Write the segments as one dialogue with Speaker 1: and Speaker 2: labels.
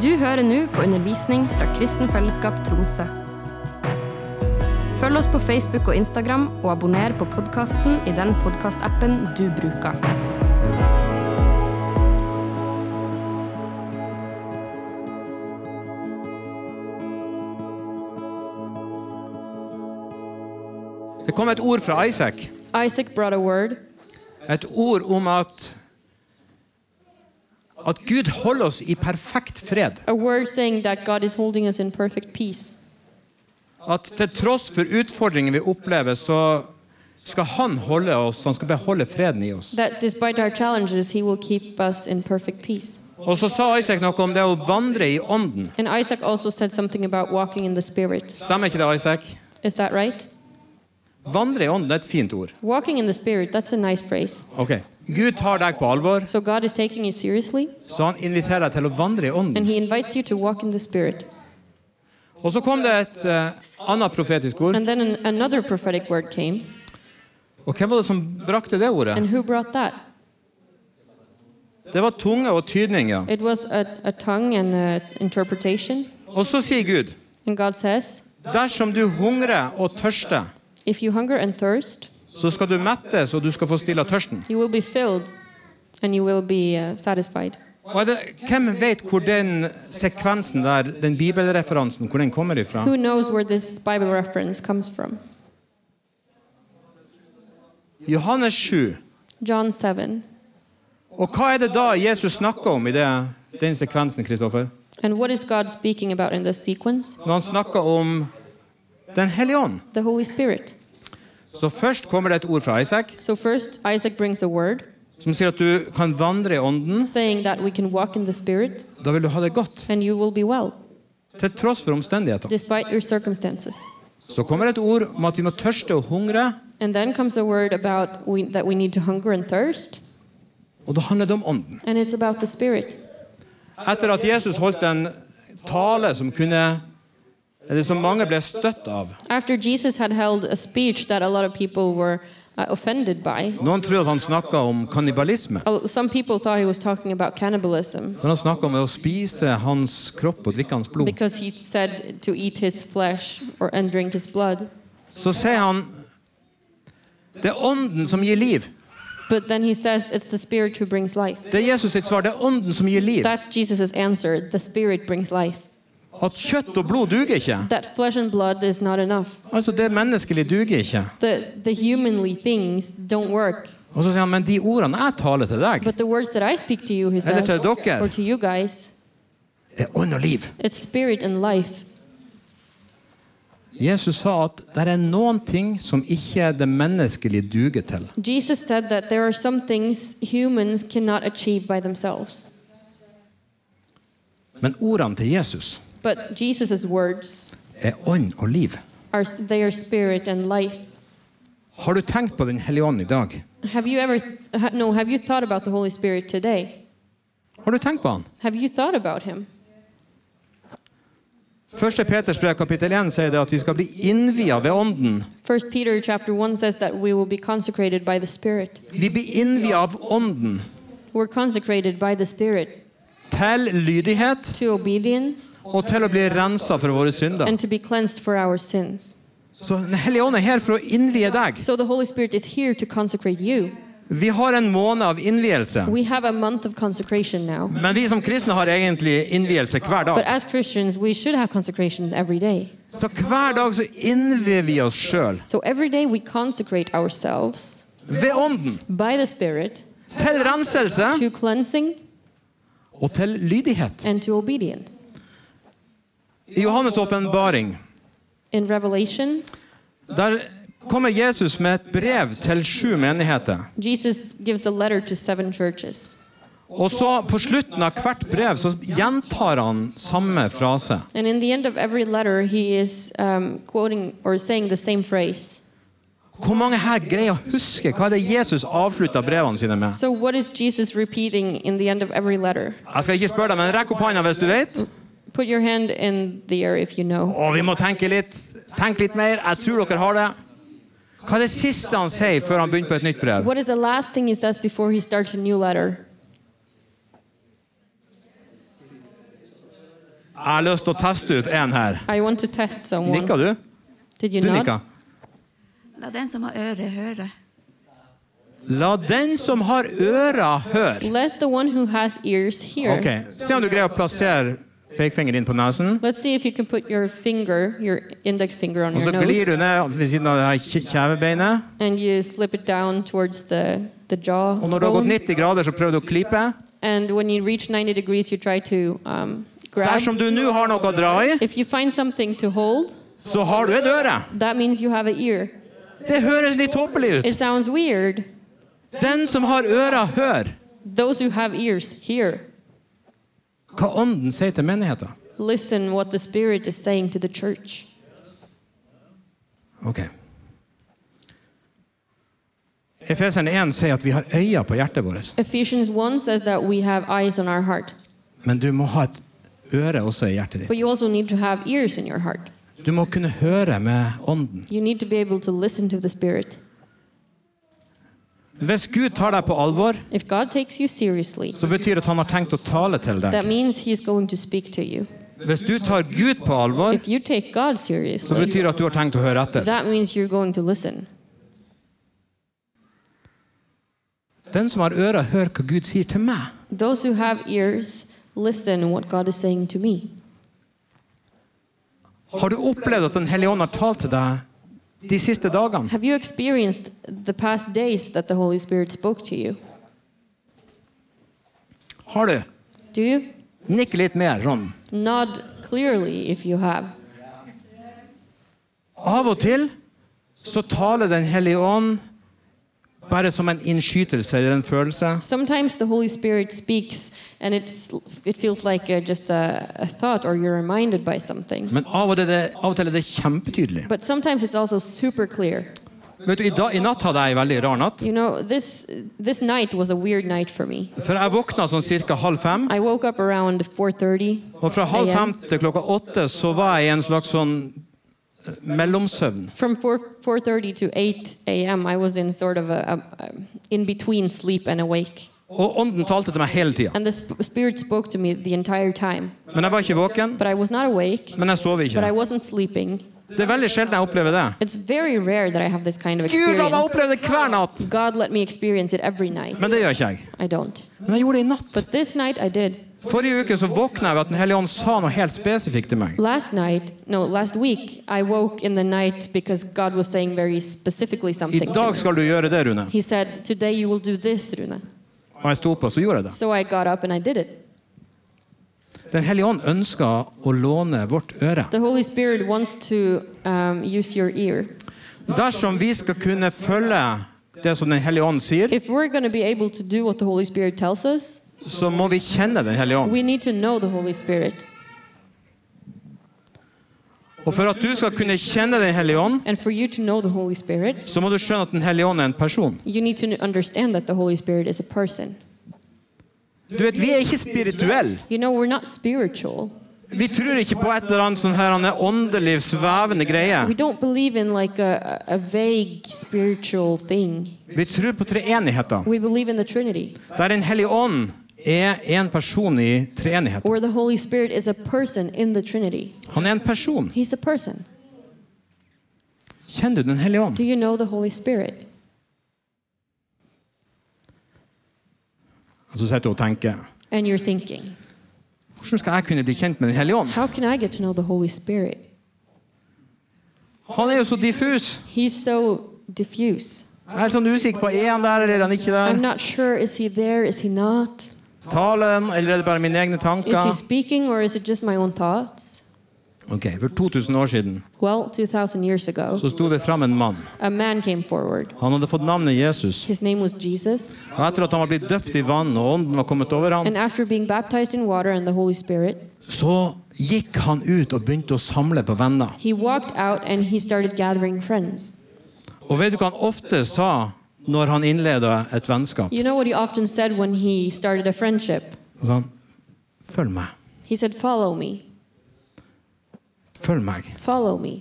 Speaker 1: Du hører nå på undervisning fra Kristen Fellesskap Tromsø. Følg oss på Facebook og Instagram, og abonner på podkasten i den podkastappen du bruker.
Speaker 2: Det kom et ord fra Isak.
Speaker 1: Isaac brought a word,
Speaker 2: Et ord om at at Gud holder oss i perfekt fred.
Speaker 3: a word saying that God is holding us in perfect peace.
Speaker 2: At til tross for utfordringer vi opplever, så skal Han holde oss, Han skal beholde freden i oss.
Speaker 3: That despite our challenges, He will keep us in perfect peace.
Speaker 2: Og så sa Isak noe om det å vandre i ånden.
Speaker 3: And Isaac also said something about walking in the Spirit.
Speaker 2: Stemmer ikke det, Isak?
Speaker 3: Is that right?
Speaker 2: Vandre i ånden det er et fint ord.
Speaker 3: Walking in the Spirit, that's a nice phrase.
Speaker 2: Ok. Gud tar deg på alvor,
Speaker 3: So God is taking you seriously,
Speaker 2: så han inviterer deg til å vandre i
Speaker 3: and
Speaker 2: ånden.
Speaker 3: He invites you to walk in the Spirit.
Speaker 2: Og så kom det et eh, annet profetisk ord.
Speaker 3: And then an, another prophetic word came.
Speaker 2: Og hvem var det som brakte det ordet?
Speaker 3: And who brought that?
Speaker 2: Det var tunge og tydninger.
Speaker 3: It was a, a tongue and a interpretation.
Speaker 2: Og så sier Gud
Speaker 3: And God says,
Speaker 2: Dersom du hungrer og tørster,
Speaker 3: If you hunger and thirst,
Speaker 2: så skal du mettes, og du skal få stilla tørsten.
Speaker 3: you will be filled and you will be uh, satisfied.
Speaker 2: Og er det, hvem vet hvor den sekvensen der, den bibelreferansen, hvor den kommer ifra?
Speaker 3: Who knows where this Bible reference comes from?
Speaker 2: Johannes 7.
Speaker 3: John 7.
Speaker 2: Og hva er det da Jesus snakker om i det, den sekvensen, Kristoffer?
Speaker 3: And what is God speaking about in this sequence?
Speaker 2: Når han snakker om Den hellige ånd.
Speaker 3: The Holy Spirit.
Speaker 2: Så først kommer det et ord fra Isak
Speaker 3: So, first, Isaac brings a word
Speaker 2: som sier at du kan vandre i ånden.
Speaker 3: saying that we can walk in the Spirit
Speaker 2: Da vil du ha det godt.
Speaker 3: and you will be well,
Speaker 2: Til tross for omstendigheter.
Speaker 3: despite your circumstances.
Speaker 2: Så kommer det et ord om at vi må tørste og hungre,
Speaker 3: And then comes a word about we, that we need to hunger and thirst,
Speaker 2: og da handler det om ånden.
Speaker 3: and it's about the Spirit.
Speaker 2: Etter at Jesus holdt en tale som kunne eller som mange ble støtt av.
Speaker 3: After Jesus had held a speech that a lot of people were uh, offended by,
Speaker 2: Noen trodde at han snakka om kannibalisme.
Speaker 3: uh, some people thought he was talking about cannibalism.
Speaker 2: Men han snakka om å spise hans kropp og drikke hans blod.
Speaker 3: because he said to eat his flesh or and drink his blood.
Speaker 2: Så sier han Det er ånden som gir liv.
Speaker 3: But then he says it's the spirit who brings life.
Speaker 2: Det er Jesus sitt svar. Det er ånden som gir liv.
Speaker 3: That's Jesus' answer. The spirit brings life.
Speaker 2: At kjøtt og blod duger ikke.
Speaker 3: That flesh and blood is not enough.
Speaker 2: Altså Det menneskelige duger ikke.
Speaker 3: The the humanly things don't work.
Speaker 2: Og så sier han, men de ordene jeg taler til deg,
Speaker 3: But the words that I speak to you, he
Speaker 2: Eller
Speaker 3: says,
Speaker 2: til dere.
Speaker 3: or to you guys,
Speaker 2: er ånd og liv.
Speaker 3: it's spirit and life.
Speaker 2: Jesus sa at det er noen ting som ikke det menneskelige duger til.
Speaker 3: Jesus said that there are some things humans cannot achieve by themselves.
Speaker 2: Men ordene til Jesus
Speaker 3: But Jesus' words
Speaker 2: er ånd og liv.
Speaker 3: are they are spirit and life.
Speaker 2: Har du tenkt på Den hellige ånd i dag?
Speaker 3: Have you ever, th- ha- no, have you thought about the Holy Spirit today?
Speaker 2: Har du tenkt på han?
Speaker 3: Have you thought about him?
Speaker 2: Første Peters brev kapittel 1 sier det at vi skal bli innvia ved ånden.
Speaker 3: First Peter chapter 1 says that we will be consecrated by the Spirit.
Speaker 2: Vi blir innvia av ånden
Speaker 3: We're consecrated by the Spirit
Speaker 2: til lydighet
Speaker 3: to obedience
Speaker 2: og til å bli rensa for våre synder.
Speaker 3: and to be cleansed for our sins.
Speaker 2: Så Den hellige ånd er her for å innvie deg.
Speaker 3: So the Holy Spirit is here to consecrate you.
Speaker 2: Vi har en måned av innvielse.
Speaker 3: We have a month of consecration now.
Speaker 2: Men vi som kristne har egentlig innvielse hver dag.
Speaker 3: But as Christians, we should have consecration every day.
Speaker 2: Så hver dag så innvier vi oss sjøl.
Speaker 3: So every day we consecrate ourselves
Speaker 2: Ved ånden.
Speaker 3: by the Spirit
Speaker 2: Til renselse
Speaker 3: to cleansing
Speaker 2: og til lydighet.
Speaker 3: and to obedience.
Speaker 2: I Johannes' åpenbaring
Speaker 3: In Revelation,
Speaker 2: Der kommer Jesus med et brev til sju menigheter.
Speaker 3: Jesus gives a letter to seven churches.
Speaker 2: Og så på slutten av hvert brev så gjentar han samme frase.
Speaker 3: And in the end of every letter, he is um, quoting or saying the same phrase.
Speaker 2: Hvor mange her greier å huske hva er det Jesus avslutta brevene sine med?
Speaker 3: So, what is Jesus repeating in the end of every letter?
Speaker 2: Jeg skal ikke spørre deg, men rekk opp hånda hvis du vet.
Speaker 3: Put your hand in the air if you know.
Speaker 2: Å, vi må tenke litt. Tenk litt mer. Jeg tror dere har det. Hva er det siste han sier før han begynner på et nytt brev?
Speaker 3: What is the last thing he says before he starts a new letter?
Speaker 2: Jeg har lyst til å teste ut en her.
Speaker 3: I want to test someone.
Speaker 2: Nikka du?
Speaker 3: Did you
Speaker 2: Du
Speaker 3: nod?
Speaker 2: nikka.
Speaker 4: La den som har øre, høre.
Speaker 2: La den som har øra, høre.
Speaker 3: Let the one who has ears hear.
Speaker 2: Ok, Se om du greier å plassere pekefingeren inn på nesen.
Speaker 3: Let's see if you can put your finger, your index finger on
Speaker 2: Og
Speaker 3: your
Speaker 2: så glir du
Speaker 3: nose,
Speaker 2: ned ved siden av det her kje- kjevebeinet.
Speaker 3: and you slip it down towards the, the jaw
Speaker 2: Og når du har gått
Speaker 3: bone.
Speaker 2: 90 grader, så prøver du å klype.
Speaker 3: And when you reach 90 degrees, you try to um, grab.
Speaker 2: Dersom du nå har noe å dra i,
Speaker 3: If you find something to hold,
Speaker 2: så har du et øre.
Speaker 3: that means you have an ear.
Speaker 2: Det høres litt tåpelig
Speaker 3: It
Speaker 2: ut.
Speaker 3: sounds weird.
Speaker 2: Den som har øra, hør
Speaker 3: Those who have ears, hear.
Speaker 2: hva Ånden sier til menigheten.
Speaker 3: Listen what the Spirit is saying to the church.
Speaker 2: Ok. Efeseren 1 sier at vi har øyne på hjertet vårt.
Speaker 3: Ephesians 1 says that we have eyes on our heart,
Speaker 2: Men du må ha et øre også i hjertet ditt.
Speaker 3: but you also need to have ears in your heart.
Speaker 2: Du må kunne høre med Ånden.
Speaker 3: You need to be able to listen to the Spirit.
Speaker 2: Hvis Gud tar deg på alvor,
Speaker 3: If God takes you seriously,
Speaker 2: så betyr det at han har tenkt å tale til deg.
Speaker 3: that means He's going to speak to you.
Speaker 2: Hvis du tar Gud på alvor,
Speaker 3: If you take God
Speaker 2: så
Speaker 3: seriously,
Speaker 2: betyr det at du har tenkt å høre etter.
Speaker 3: that means you're going to listen.
Speaker 2: Den som har ører, hør hva Gud sier til meg.
Speaker 3: Those who have ears, listen what God is saying to me.
Speaker 2: Har du opplevd at Den hellige ånd har talt til deg de siste dagene?
Speaker 3: Have you experienced the past days that the Holy Spirit spoke to you?
Speaker 2: Har du?
Speaker 3: Do you?
Speaker 2: Nikk litt mer, Ron.
Speaker 3: Nod clearly if you have.
Speaker 2: Av og til så taler Den hellige ånd bare som en innskytelse eller en følelse.
Speaker 3: Sometimes the Holy Spirit speaks and it's, it feels like uh just a, a thought or you're reminded by something.
Speaker 2: Men av og til er det, av og til er det kjempetydelig.
Speaker 3: But sometimes it's also super clear.
Speaker 2: Vet du, i, dag- I natt hadde jeg en veldig rar natt.
Speaker 3: You know, this, this night was a weird night for me.
Speaker 2: For jeg våkna sånn ca. halv fem.
Speaker 3: I woke up around 4.30
Speaker 2: Og fra halv
Speaker 3: AM.
Speaker 2: fem til klokka åtte så var jeg i en slags sånn eh, mellomsøvn.
Speaker 3: From 4, 4.30 to 8 a.m. I was in sort of a, a, a in between sleep and awake.
Speaker 2: Og ånden talte til meg hele tida.
Speaker 3: And the sp- Spirit spoke to me the entire time.
Speaker 2: Men jeg var ikke våken.
Speaker 3: But I was not awake,
Speaker 2: Men jeg sov
Speaker 3: but
Speaker 2: ikke.
Speaker 3: I wasn't sleeping.
Speaker 2: Det er veldig sjelden jeg opplever det.
Speaker 3: It's very rare that I have this kind of
Speaker 2: Gud, han har
Speaker 3: experience.
Speaker 2: opplevd det hver natt!
Speaker 3: God let me experience it every night.
Speaker 2: Men det gjør ikke jeg.
Speaker 3: I don't.
Speaker 2: Men jeg gjorde det i natt.
Speaker 3: But this night I did.
Speaker 2: Forrige uke så våkna jeg ved at Den hellige ånd sa noe helt spesifikt til meg.
Speaker 3: Last night, no, last week, I woke in the night because God was saying very specifically
Speaker 2: I
Speaker 3: something. to
Speaker 2: dag
Speaker 3: me.
Speaker 2: skal du gjøre det, Rune.
Speaker 3: He said, Today you will do this, Rune.
Speaker 2: Og jeg sto opp, og så gjorde jeg det.
Speaker 3: So I got up and I did it.
Speaker 2: Den hellige ånd ønsker å låne vårt øre.
Speaker 3: The Holy Spirit wants to um, use your ear.
Speaker 2: Dersom vi skal kunne følge det som Den hellige ånd sier,
Speaker 3: If we're going to be able to do what the Holy Spirit tells us,
Speaker 2: så må vi kjenne Den hellige ånd.
Speaker 3: we need to know the Holy Spirit.
Speaker 2: Og for at du skal kunne kjenne Den hellige ånd,
Speaker 3: And for you to know the Holy Spirit,
Speaker 2: så må du skjønne at Den hellige ånd er en person.
Speaker 3: you need to understand that the Holy Spirit is a person.
Speaker 2: Du vet, Vi er ikke spirituelle.
Speaker 3: You know, we're not spiritual.
Speaker 2: Vi tror ikke på et eller annet sånn her han er åndelig, svevende greie.
Speaker 3: We don't believe in like a, a vague spiritual thing.
Speaker 2: Vi tror på treenigheten.
Speaker 3: We believe in the Trinity,
Speaker 2: Der Den hellige ånd er en person i treenigheten.
Speaker 3: where the Holy Spirit is a person in the Trinity.
Speaker 2: Han er en person.
Speaker 3: He's a person.
Speaker 2: Kjenner du Den hellige ånd?
Speaker 3: Do you know the Holy Spirit?
Speaker 2: Og Så sitter du og tenker
Speaker 3: And you're thinking,
Speaker 2: Hvordan skal jeg kunne bli kjent med Den hellige ånd?
Speaker 3: how can I get to know the Holy Spirit?
Speaker 2: Han er jo så diffus.
Speaker 3: He's so diffuse.
Speaker 2: Jeg er sånn usikker på er han der eller er han ikke
Speaker 3: I'm
Speaker 2: der.
Speaker 3: not sure is he there, is he not?
Speaker 2: Talen, eller er det bare mine egne
Speaker 3: Is he
Speaker 2: tanker?
Speaker 3: speaking or is it just my own thoughts?
Speaker 2: Ok, For 2000 år siden
Speaker 3: Well, 2000 years ago,
Speaker 2: så sto det fram en mann.
Speaker 3: a man came forward.
Speaker 2: Han hadde fått navnet Jesus.
Speaker 3: His name was Jesus.
Speaker 2: Og Etter at han var blitt døpt i vann og ånden var kommet over ham,
Speaker 3: And after being baptized in water and the Holy Spirit,
Speaker 2: så gikk han ut og begynte å samle på venner.
Speaker 3: he walked out and he started gathering friends.
Speaker 2: Og vet du hva han ofte sa når han innleda et vennskap?
Speaker 3: You know what he often said when he started a friendship?
Speaker 2: Han sa han, følg meg,
Speaker 3: He said, Follow me,
Speaker 2: følg meg.
Speaker 3: follow me.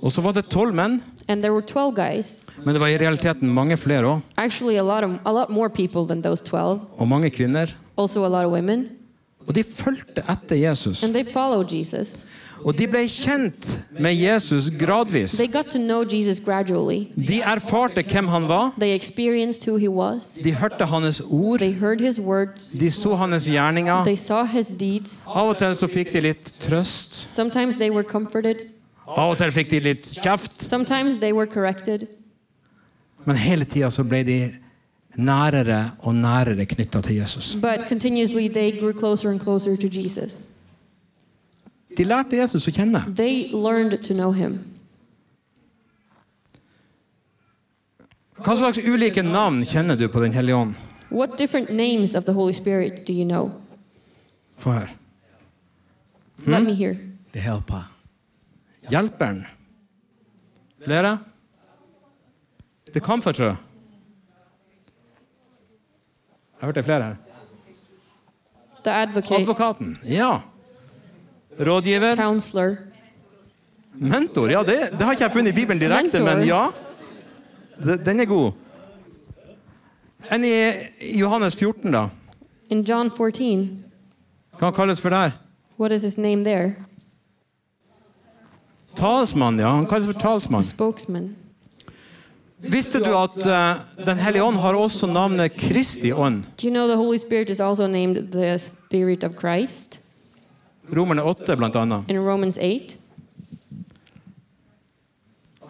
Speaker 2: Og så var det tolv menn,
Speaker 3: And there were 12 guys,
Speaker 2: men det var i realiteten mange flere òg.
Speaker 3: actually, a lot, of, a lot more people than those 12,
Speaker 2: Og mange kvinner.
Speaker 3: also a lot of women.
Speaker 2: Og de fulgte etter Jesus.
Speaker 3: And they followed Jesus.
Speaker 2: Og de ble kjent med Jesus gradvis.
Speaker 3: They got to know Jesus gradually.
Speaker 2: De erfarte hvem han var.
Speaker 3: They experienced who he was.
Speaker 2: De hørte hans ord.
Speaker 3: They heard his words.
Speaker 2: De så hans gjerninger.
Speaker 3: They saw his deeds.
Speaker 2: Av og til så fikk de litt trøst.
Speaker 3: Sometimes they were comforted.
Speaker 2: Av og til fikk de litt kjeft.
Speaker 3: Sometimes they were corrected.
Speaker 2: Men hele tida så ble de nærere og nærere knytta til Jesus.
Speaker 3: But continuously they grew closer and closer to Jesus.
Speaker 2: De lærte Jesus å kjenne.
Speaker 3: They learned to know him.
Speaker 2: Hva slags ulike navn kjenner du på Den hellige ånd?
Speaker 3: What different names of the Holy Spirit do you know?
Speaker 2: Få høre.
Speaker 3: Let me hear.
Speaker 2: The helper. Hjelperen. Flere? The comforter. Jeg hørte flere her.
Speaker 3: The advocate,
Speaker 2: Advokaten. Ja. Rådgiver.
Speaker 3: counselor,
Speaker 2: Mentor. Ja, det, det har ikke jeg funnet i Bibelen direkte,
Speaker 3: Mentor.
Speaker 2: men ja. De- Den er god. Enn i Johannes 14, da?
Speaker 3: In John 14,
Speaker 2: Hva kalles for der?
Speaker 3: what is his name there?
Speaker 2: Talsmann, ja. Han kalles for talsmann.
Speaker 3: Spokesman.
Speaker 2: Visste du at eh, Den hellige ånd har også navnet Kristi ånd?
Speaker 3: Do you know the Holy Spirit is also named the Spirit of Christ
Speaker 2: Romerne 8, blant annet.
Speaker 3: in Romans 8?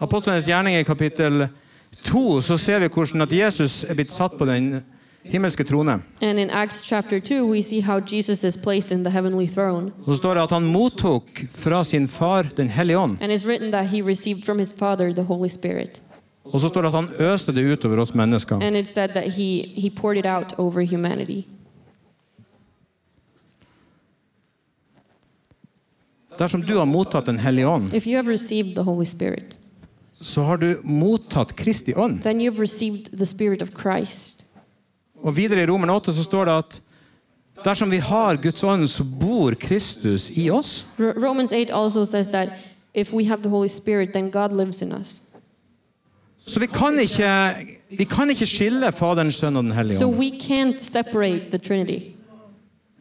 Speaker 2: Apostlenes gjerning i kapittel 2 så ser vi hvordan at Jesus er blitt satt på den himmelske trone.
Speaker 3: And in Acts chapter 2, we see how Jesus is placed in the heavenly throne.
Speaker 2: Så står det at han mottok fra sin far Den hellige ånd.
Speaker 3: And it's written that he received from his Father the Holy Spirit.
Speaker 2: Og så står det at han øste det utover oss mennesker.
Speaker 3: And it said that he, he poured it out over humanity.
Speaker 2: Dersom du har mottatt Den hellige ånd,
Speaker 3: If you have received the Holy Spirit,
Speaker 2: så har du mottatt Kristi ånd.
Speaker 3: then you've received the Spirit of Christ.
Speaker 2: Og videre i Romerne 8 så står det at dersom vi har Guds ånd, så bor Kristus i oss.
Speaker 3: R- Romans 8 also says that if we have the Holy Spirit, then God lives in us.
Speaker 2: Så vi kan ikke, vi kan ikke skille Faderen, Sønnen og Den hellige
Speaker 3: So
Speaker 2: ånd.
Speaker 3: we can't separate the Trinity.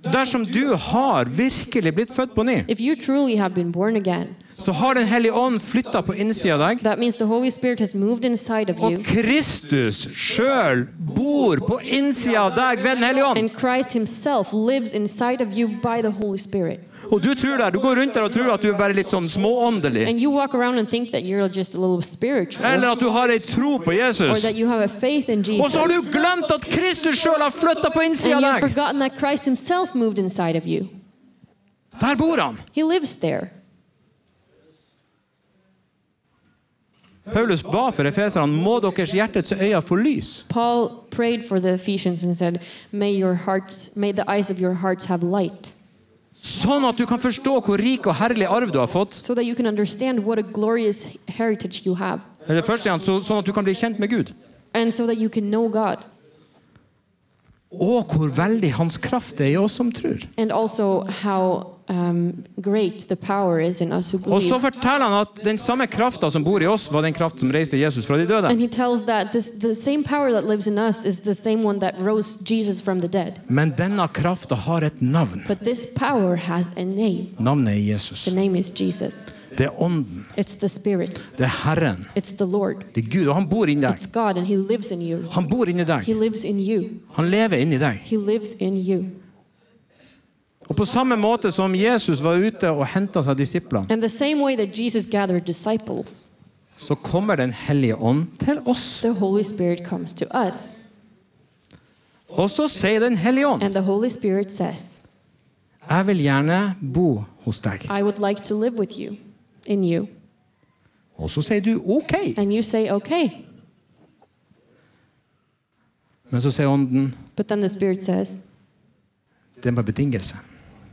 Speaker 2: Dersom du har virkelig blitt født på ny,
Speaker 3: If you truly have been born again,
Speaker 2: så har Den hellige ånd flytta på innsida av deg.
Speaker 3: that means the Holy Spirit has moved inside of
Speaker 2: Og
Speaker 3: you,
Speaker 2: Kristus sjøl bor på innsida av deg ved Den hellige ånd.
Speaker 3: and Christ Himself lives inside of you by the Holy Spirit.
Speaker 2: Og du tror det. Du går rundt der og tror at du er bare litt sånn smååndelig.
Speaker 3: And you walk around and think that you're just a little spiritual,
Speaker 2: Eller at du har ei tro på
Speaker 3: or
Speaker 2: Jesus.
Speaker 3: that you have a faith in
Speaker 2: Og så har
Speaker 3: Jesus.
Speaker 2: du glemt at Kristus sjøl har flytta på innsida
Speaker 3: And you've
Speaker 2: av deg!
Speaker 3: forgotten that Christ Himself moved inside of you.
Speaker 2: Der bor han!
Speaker 3: He lives there.
Speaker 2: Paulus ba for efeserne må deres hjertets øyne få lys.
Speaker 3: Paul prayed for the Ephesians and said, "May your hearts, may the eyes of your hearts have light,
Speaker 2: Sånn at du kan forstå hvor rik og herlig arv du har fått.
Speaker 3: so that you can understand what a glorious heritage you have,
Speaker 2: Eller først igjen, så, Sånn at du kan bli kjent med Gud.
Speaker 3: and so that you can know God,
Speaker 2: Og hvor veldig hans kraft er i oss som tror.
Speaker 3: and also how um, great the power is in us who
Speaker 2: Og så
Speaker 3: believe."
Speaker 2: forteller han at den samme krafta som bor i oss, var den kraft som reiste Jesus fra de døde.
Speaker 3: And he tells that this, the same power that lives in us is the same one that rose Jesus from the dead.
Speaker 2: Men denne krafta har et navn.
Speaker 3: But this power has a name.
Speaker 2: Navnet er Jesus.
Speaker 3: The name is Jesus.
Speaker 2: Det er Ånden.
Speaker 3: It's the Spirit.
Speaker 2: Det er Herren.
Speaker 3: It's the Lord.
Speaker 2: Det er Gud. Og han bor inni deg.
Speaker 3: It's God, and He lives in you.
Speaker 2: Han bor inni deg.
Speaker 3: He lives in you.
Speaker 2: Han lever inni deg.
Speaker 3: He lives in you.
Speaker 2: Og på samme måte som Jesus var ute og henta seg disiplene,
Speaker 3: And the same way that Jesus gathered disciples,
Speaker 2: så kommer Den hellige ånd til oss.
Speaker 3: the Holy Spirit comes to us.
Speaker 2: Og så sier Den hellige ånd,
Speaker 3: And the Holy Spirit says,
Speaker 2: jeg vil gjerne bo hos deg.
Speaker 3: I would like to live with you, in you.
Speaker 2: Og så sier du ok.
Speaker 3: And you say, okay.
Speaker 2: Men så sier ånden,
Speaker 3: But then the Spirit says,
Speaker 2: det er med betingelse.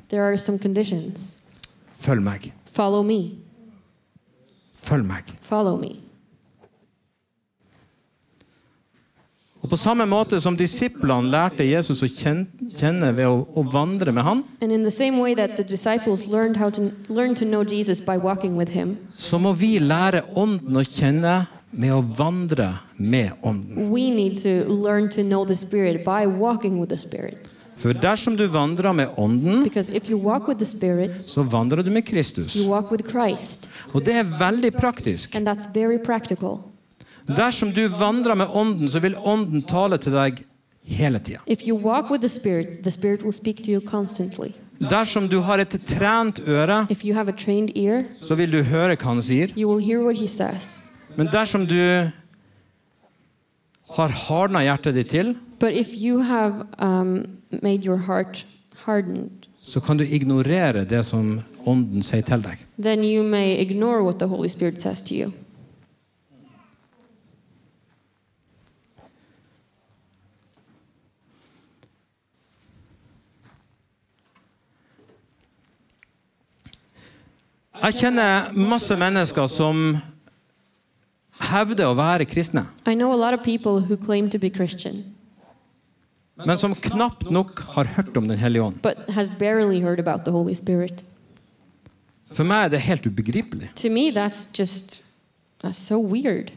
Speaker 3: there are some conditions.
Speaker 2: Følg meg.
Speaker 3: Follow me.
Speaker 2: Følg meg.
Speaker 3: Follow me.
Speaker 2: Og på samme måte som disiplene lærte Jesus å kjen- kjenne ved å, å vandre med han,
Speaker 3: And in the same way that the disciples learned how to learn to know Jesus by walking with him,
Speaker 2: så må vi lære ånden å kjenne med å vandre med ånden.
Speaker 3: we need to learn to know the Spirit by walking with the Spirit.
Speaker 2: For dersom du vandrer med Ånden,
Speaker 3: Because if you walk with the Spirit,
Speaker 2: så vandrer du med Kristus.
Speaker 3: you walk with Christ.
Speaker 2: Og det er veldig praktisk.
Speaker 3: And that's very practical.
Speaker 2: Dersom du vandrer med Ånden, så vil Ånden tale til deg hele tida.
Speaker 3: If you walk with the Spirit, the Spirit will speak to you constantly.
Speaker 2: Dersom du har et trent øre,
Speaker 3: If you have a trained ear,
Speaker 2: så vil du høre hva han sier.
Speaker 3: you will hear what He says.
Speaker 2: Men dersom du har hardna hjertet ditt til,
Speaker 3: But if you have um, made your heart hardened,
Speaker 2: så kan du ignorere det som Ånden sier til deg.
Speaker 3: then you may ignore what the Holy Spirit says to you.
Speaker 2: Jeg kjenner masse mennesker som hevder å være kristne,
Speaker 3: I know a lot of people who claim to be Christian,
Speaker 2: men som knapt nok har hørt om Den hellige ånd.
Speaker 3: but has barely heard about the Holy Spirit.
Speaker 2: For meg er det helt ubegripelig.
Speaker 3: To me, that's just that's so weird.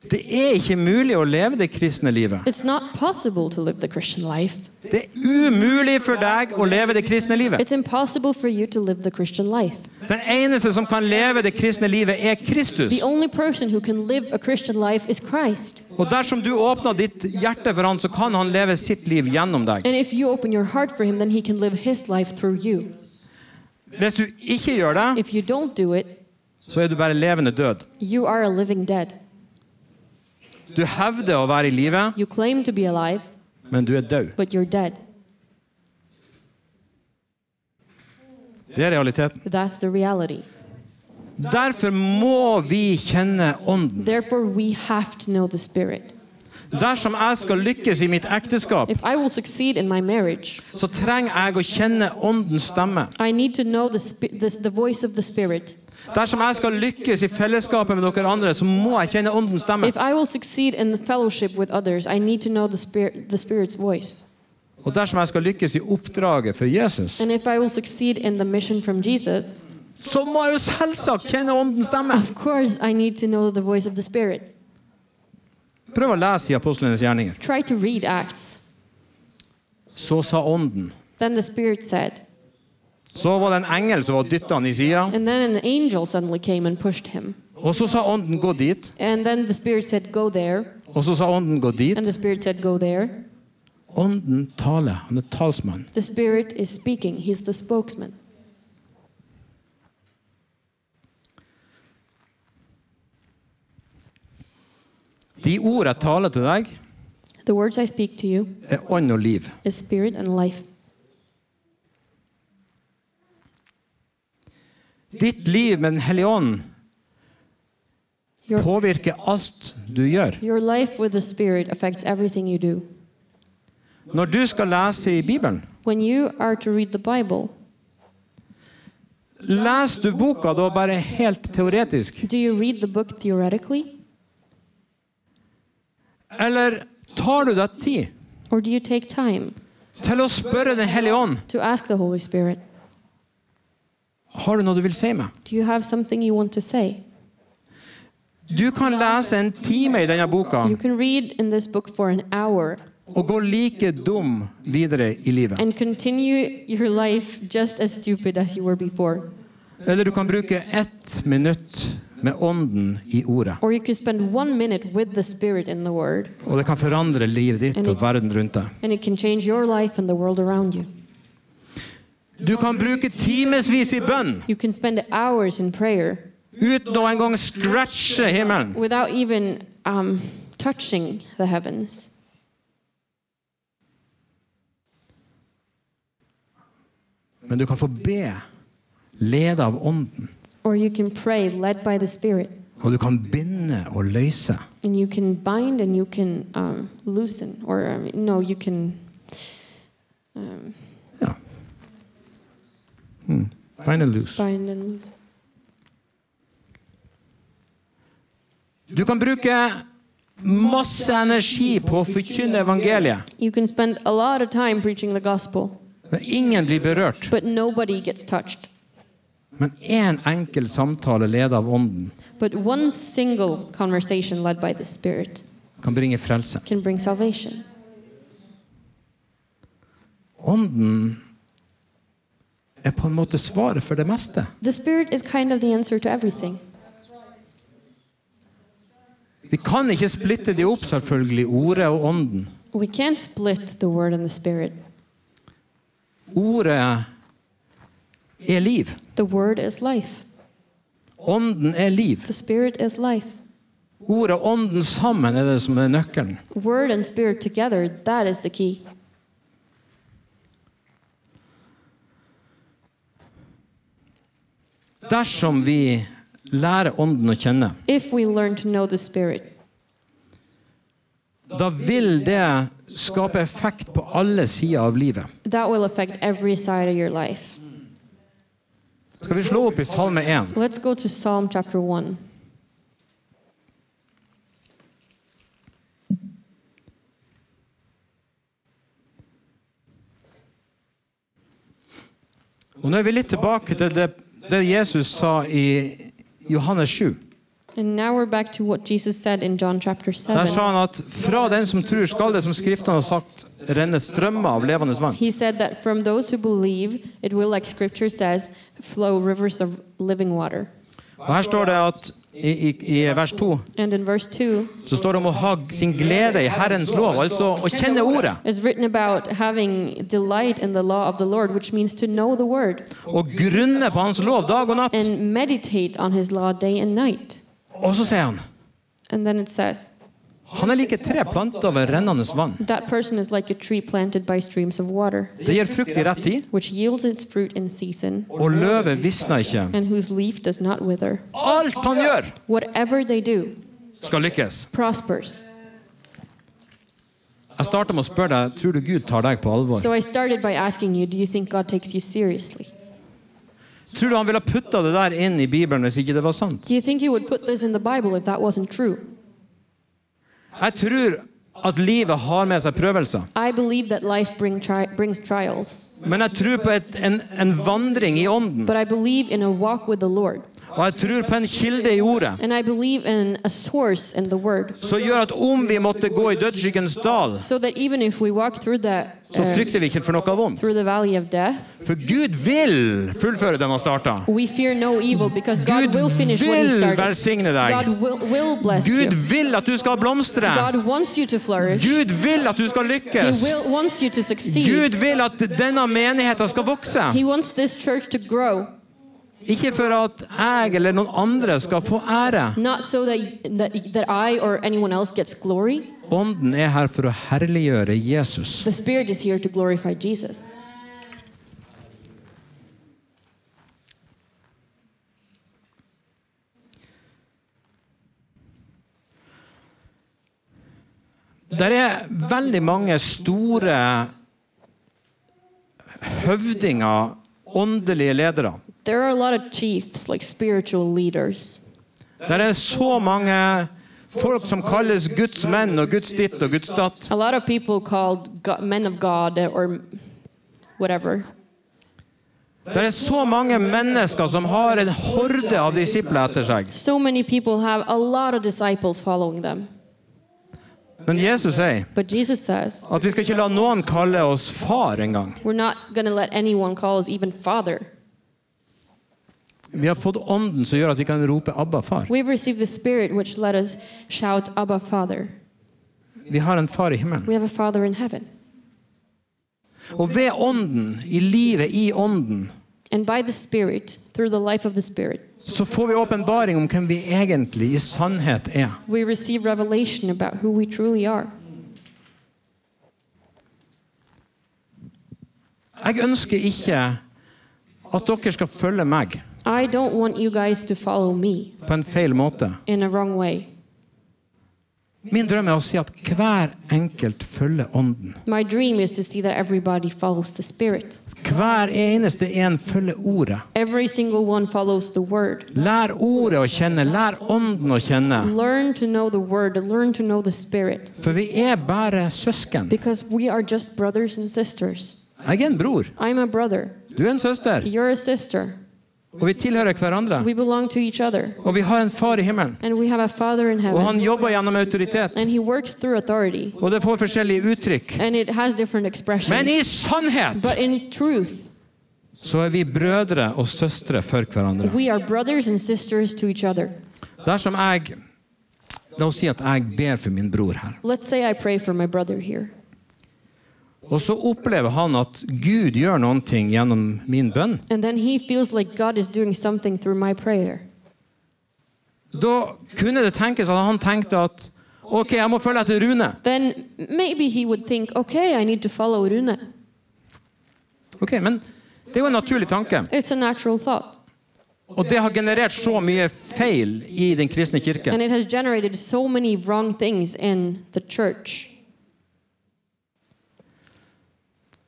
Speaker 2: Det er ikke mulig å leve det kristne livet.
Speaker 3: It's not possible to live the Christian life.
Speaker 2: Det er umulig for deg å leve det kristne livet.
Speaker 3: It's impossible for you to live the Christian life.
Speaker 2: Den eneste som kan leve det kristne livet, er Kristus.
Speaker 3: The only person who can live a Christian life is Christ.
Speaker 2: Og dersom du åpner ditt hjerte for han, så kan han leve sitt liv gjennom deg.
Speaker 3: And if you open your heart for Him, then He can live His life through you.
Speaker 2: Hvis du ikke gjør det,
Speaker 3: If you don't do it,
Speaker 2: så er du bare levende død.
Speaker 3: you are a living dead.
Speaker 2: Du hevder å være i live,
Speaker 3: You claim to be alive,
Speaker 2: men du er død.
Speaker 3: but you're dead.
Speaker 2: Det er realiteten.
Speaker 3: That's the reality.
Speaker 2: Derfor må vi kjenne Ånden.
Speaker 3: Therefore, we have to know the Spirit.
Speaker 2: Dersom jeg skal lykkes i mitt ekteskap,
Speaker 3: If I will succeed in my marriage,
Speaker 2: så trenger jeg å kjenne Åndens stemme.
Speaker 3: I need to know the, spi- the, the voice of the Spirit.
Speaker 2: Dersom jeg skal lykkes i fellesskapet med dere andre, så må jeg kjenne Åndens stemme.
Speaker 3: If I will succeed in the fellowship with others, I need to know the, spirit, the Spirit's voice.
Speaker 2: Og dersom jeg skal lykkes i oppdraget for Jesus,
Speaker 3: And if I will succeed in the mission from Jesus,
Speaker 2: så må jeg jo selvsagt kjenne Åndens stemme.
Speaker 3: of course, I need to know the voice of the Spirit.
Speaker 2: Prøv å lese i apostlenes gjerninger.
Speaker 3: Try to read Acts.
Speaker 2: Så sa Ånden.
Speaker 3: Then the Spirit said,
Speaker 2: Så var det en engel som var dytta han i sida.
Speaker 3: and then an angel suddenly came and pushed him.
Speaker 2: Og så sa Ånden 'gå dit',
Speaker 3: And then the Spirit said, Go there.
Speaker 2: og så sa Ånden 'gå dit'.
Speaker 3: And the Spirit said, Go there.
Speaker 2: Ånden taler. Han er talsmann.
Speaker 3: The Spirit is speaking, He's the spokesman.
Speaker 2: De ord jeg taler til deg,
Speaker 3: The words I speak to you
Speaker 2: er ånd og liv.
Speaker 3: is spirit and life.
Speaker 2: Ditt liv med Den hellige ånd
Speaker 3: Your,
Speaker 2: påvirker alt du gjør.
Speaker 3: your life with the Spirit affects everything you do.
Speaker 2: Når du skal lese i Bibelen,
Speaker 3: When you are to read the Bible,
Speaker 2: leser du boka da bare helt teoretisk?
Speaker 3: do you read the book theoretically
Speaker 2: Eller tar du deg tid
Speaker 3: or do you take time
Speaker 2: til å spørre Den hellige ånd
Speaker 3: to ask the Holy Spirit,
Speaker 2: har du noe du vil si meg?
Speaker 3: Do you have something you want to say?
Speaker 2: Du kan lese en time i denne boka
Speaker 3: You can read in this book for an hour
Speaker 2: og gå like dum videre i livet.
Speaker 3: and continue your life just as stupid as you were before.
Speaker 2: Eller du kan bruke ett minutt med ånden i ordet.
Speaker 3: Or you can spend one minute with the Spirit in the Word
Speaker 2: Og det kan forandre livet ditt og verden rundt deg.
Speaker 3: and it can change your life and the world around you.
Speaker 2: Du kan bruke timevis i bønn
Speaker 3: You can spend hours in prayer
Speaker 2: uten å engang scratche himmelen.
Speaker 3: without even um, touching the heavens.
Speaker 2: Men du kan få be ledet av ånden.
Speaker 3: Or you can pray led by the Spirit,
Speaker 2: Og du kan binde og løse.
Speaker 3: and you can bind and you can um, loosen, or um, no, you can. Um,
Speaker 2: Ja. Hmm. Bind and loose.
Speaker 3: bind and loosen.
Speaker 2: Du kan bruke masse energi på å forkynne evangeliet,
Speaker 3: You can spend a lot of time preaching the gospel,
Speaker 2: men ingen blir berørt.
Speaker 3: but nobody gets touched.
Speaker 2: Men én enkel samtale ledet av Ånden
Speaker 3: But one single conversation led by the Spirit
Speaker 2: kan bringe frelse.
Speaker 3: can bring salvation.
Speaker 2: ånden er på en måte svaret for det meste.
Speaker 3: The Spirit is kind of the answer to everything.
Speaker 2: Vi kan ikke splitte de opp, selvfølgelig, ordet og ånden.
Speaker 3: We can't split the Word and the Spirit.
Speaker 2: Ordet er liv.
Speaker 3: The Word is life,
Speaker 2: Ånden er liv.
Speaker 3: the Spirit is life.
Speaker 2: Ordet og ånden sammen er det som er nøkkelen.
Speaker 3: Word and Spirit together, that is the key.
Speaker 2: Dersom vi lærer ånden å kjenne,
Speaker 3: If we learn to know the Spirit,
Speaker 2: da vil det skape effekt på alle sider av livet.
Speaker 3: that will affect every side of your life.
Speaker 2: Skal vi slå opp i Salme 1?
Speaker 3: Let's go to Psalm chapter 1.
Speaker 2: Og nå er vi litt tilbake til det, det Jesus sa i Johannes 7.
Speaker 3: And now we're back to what Jesus said in John chapter
Speaker 2: Der sa
Speaker 3: 7.
Speaker 2: han at fra den som tror skal det, som Skriftene har sagt, renne strømmer av levende vann.
Speaker 3: He said that from those who believe, it will, like scripture says, flow rivers of living water.
Speaker 2: Og her står det at i, i, i vers 2
Speaker 3: And in verse 2,
Speaker 2: så står det om å ha sin glede i Herrens lov, altså å kjenne ordet.
Speaker 3: it's written about having delight in the law of the Lord, which means to know the word
Speaker 2: Og grunne på hans lov dag og natt.
Speaker 3: and meditate on his law day and night.
Speaker 2: Og så sier han
Speaker 3: And then it says,
Speaker 2: han er like tre planter ved rennende vann.
Speaker 3: that person is like a tree planted by streams of water,
Speaker 2: Det gir frukt i rett tid,
Speaker 3: which yields its fruit in season,
Speaker 2: og løvet visner ikke.
Speaker 3: and whose leaf does not wither.
Speaker 2: Alt han gjør,
Speaker 3: Whatever they do
Speaker 2: skal lykkes.
Speaker 3: prospers.
Speaker 2: Jeg starter med å spørre deg tror du Gud tar deg på alvor.
Speaker 3: So I started by asking you, do you think God takes you seriously?
Speaker 2: Tror du han ville ha putta det der inn i Bibelen hvis ikke det var sant?
Speaker 3: Do you think He would put this in the Bible if that wasn't true?
Speaker 2: Jeg tror at livet har med seg prøvelser.
Speaker 3: I believe that life bring tri- brings trials,
Speaker 2: Men jeg tror på et, en, en vandring i ånden.
Speaker 3: but I believe in a walk with the Lord,
Speaker 2: Og jeg tror på en kilde i ordet.
Speaker 3: and I believe in a source in the Word,
Speaker 2: Som gjør at om vi måtte gå i dødsskyggens dal,
Speaker 3: so that even if we walk through the
Speaker 2: så
Speaker 3: uh,
Speaker 2: frykter vi ikke for noe vondt.
Speaker 3: through the valley of death,
Speaker 2: For Gud vil fullføre den han starta.
Speaker 3: we fear no evil because God
Speaker 2: Gud
Speaker 3: will finish what He
Speaker 2: vil
Speaker 3: started.
Speaker 2: velsigne deg.
Speaker 3: God will, will bless
Speaker 2: Gud
Speaker 3: you.
Speaker 2: vil at du skal blomstre.
Speaker 3: God wants you to flourish.
Speaker 2: Gud vil at du skal lykkes.
Speaker 3: He will, wants you to succeed.
Speaker 2: Gud vil at denne menigheten skal vokse.
Speaker 3: He wants this church to grow.
Speaker 2: Ikke for at jeg eller noen andre skal få ære.
Speaker 3: Not so that, that, that I or anyone else gets glory.
Speaker 2: Ånden er her for å herliggjøre Jesus.
Speaker 3: The Spirit is here to glorify Jesus.
Speaker 2: Det er veldig mange store høvdinger, åndelige ledere.
Speaker 3: There are a lot of chiefs, like spiritual leaders.
Speaker 2: Det er så mange folk som kalles Guds menn og Guds ditt og Guds datt.
Speaker 3: A lot of people called God, men of God uh, or whatever.
Speaker 2: Det er så mange mennesker som har en horde av disipler etter seg.
Speaker 3: So many people have a lot of disciples following them.
Speaker 2: Men Jesus sier
Speaker 3: But Jesus says,
Speaker 2: at vi skal ikke la noen kalle oss far engang.
Speaker 3: we're not going to let anyone call us even Father.
Speaker 2: Vi har fått ånden som gjør at vi kan rope 'Abba, far'.
Speaker 3: We've received the Spirit, which let us shout, Abba, Father.
Speaker 2: Vi har en far i himmelen.
Speaker 3: We have a Father in heaven.
Speaker 2: Og ved ånden, i livet i ånden,
Speaker 3: And by the Spirit, through the life of the Spirit,
Speaker 2: så får vi åpenbaring om hvem vi egentlig i sannhet er.
Speaker 3: we receive revelation about who we truly are.
Speaker 2: Jeg ønsker ikke at dere skal følge meg
Speaker 3: I don't want you guys to follow me
Speaker 2: på en feil måte.
Speaker 3: in a wrong way.
Speaker 2: Min drøm er å si at hver enkelt følger ånden.
Speaker 3: My dream is to see that everybody follows the Spirit.
Speaker 2: Hver eneste en følger ordet.
Speaker 3: Every single one follows the Word.
Speaker 2: Lær ordet å kjenne, lær ånden å kjenne.
Speaker 3: Learn to know the Word, learn to know the Spirit,
Speaker 2: For vi er bare søsken.
Speaker 3: because we are just brothers and sisters.
Speaker 2: Jeg er en bror,
Speaker 3: I'm a brother,
Speaker 2: du er en søster.
Speaker 3: you're a sister.
Speaker 2: Og vi tilhører hverandre.
Speaker 3: We belong to each other.
Speaker 2: Og vi har en far i himmelen.
Speaker 3: And we have a Father in
Speaker 2: Og han
Speaker 3: heaven.
Speaker 2: jobber gjennom autoritet.
Speaker 3: And he works through authority.
Speaker 2: Og det får forskjellige uttrykk.
Speaker 3: And it has different expressions.
Speaker 2: Men i sannhet
Speaker 3: but in truth,
Speaker 2: så er vi brødre og søstre for hverandre.
Speaker 3: we are brothers and sisters to each other.
Speaker 2: Dersom jeg La oss si at jeg ber for min bror her.
Speaker 3: Let's say I pray for my brother here.
Speaker 2: Og så opplever han at Gud gjør noen ting gjennom min bønn.
Speaker 3: And then he feels like God is doing something through my prayer.
Speaker 2: Da kunne det tenkes at han tenkte at ok, jeg må følge etter Rune.
Speaker 3: Then maybe he would think, okay, I need to follow Rune.
Speaker 2: Ok, Men det er jo en naturlig tanke.
Speaker 3: It's a natural thought.
Speaker 2: Og det har generert så mye feil i den kristne kirke.
Speaker 3: And it has generated so many wrong things in the church.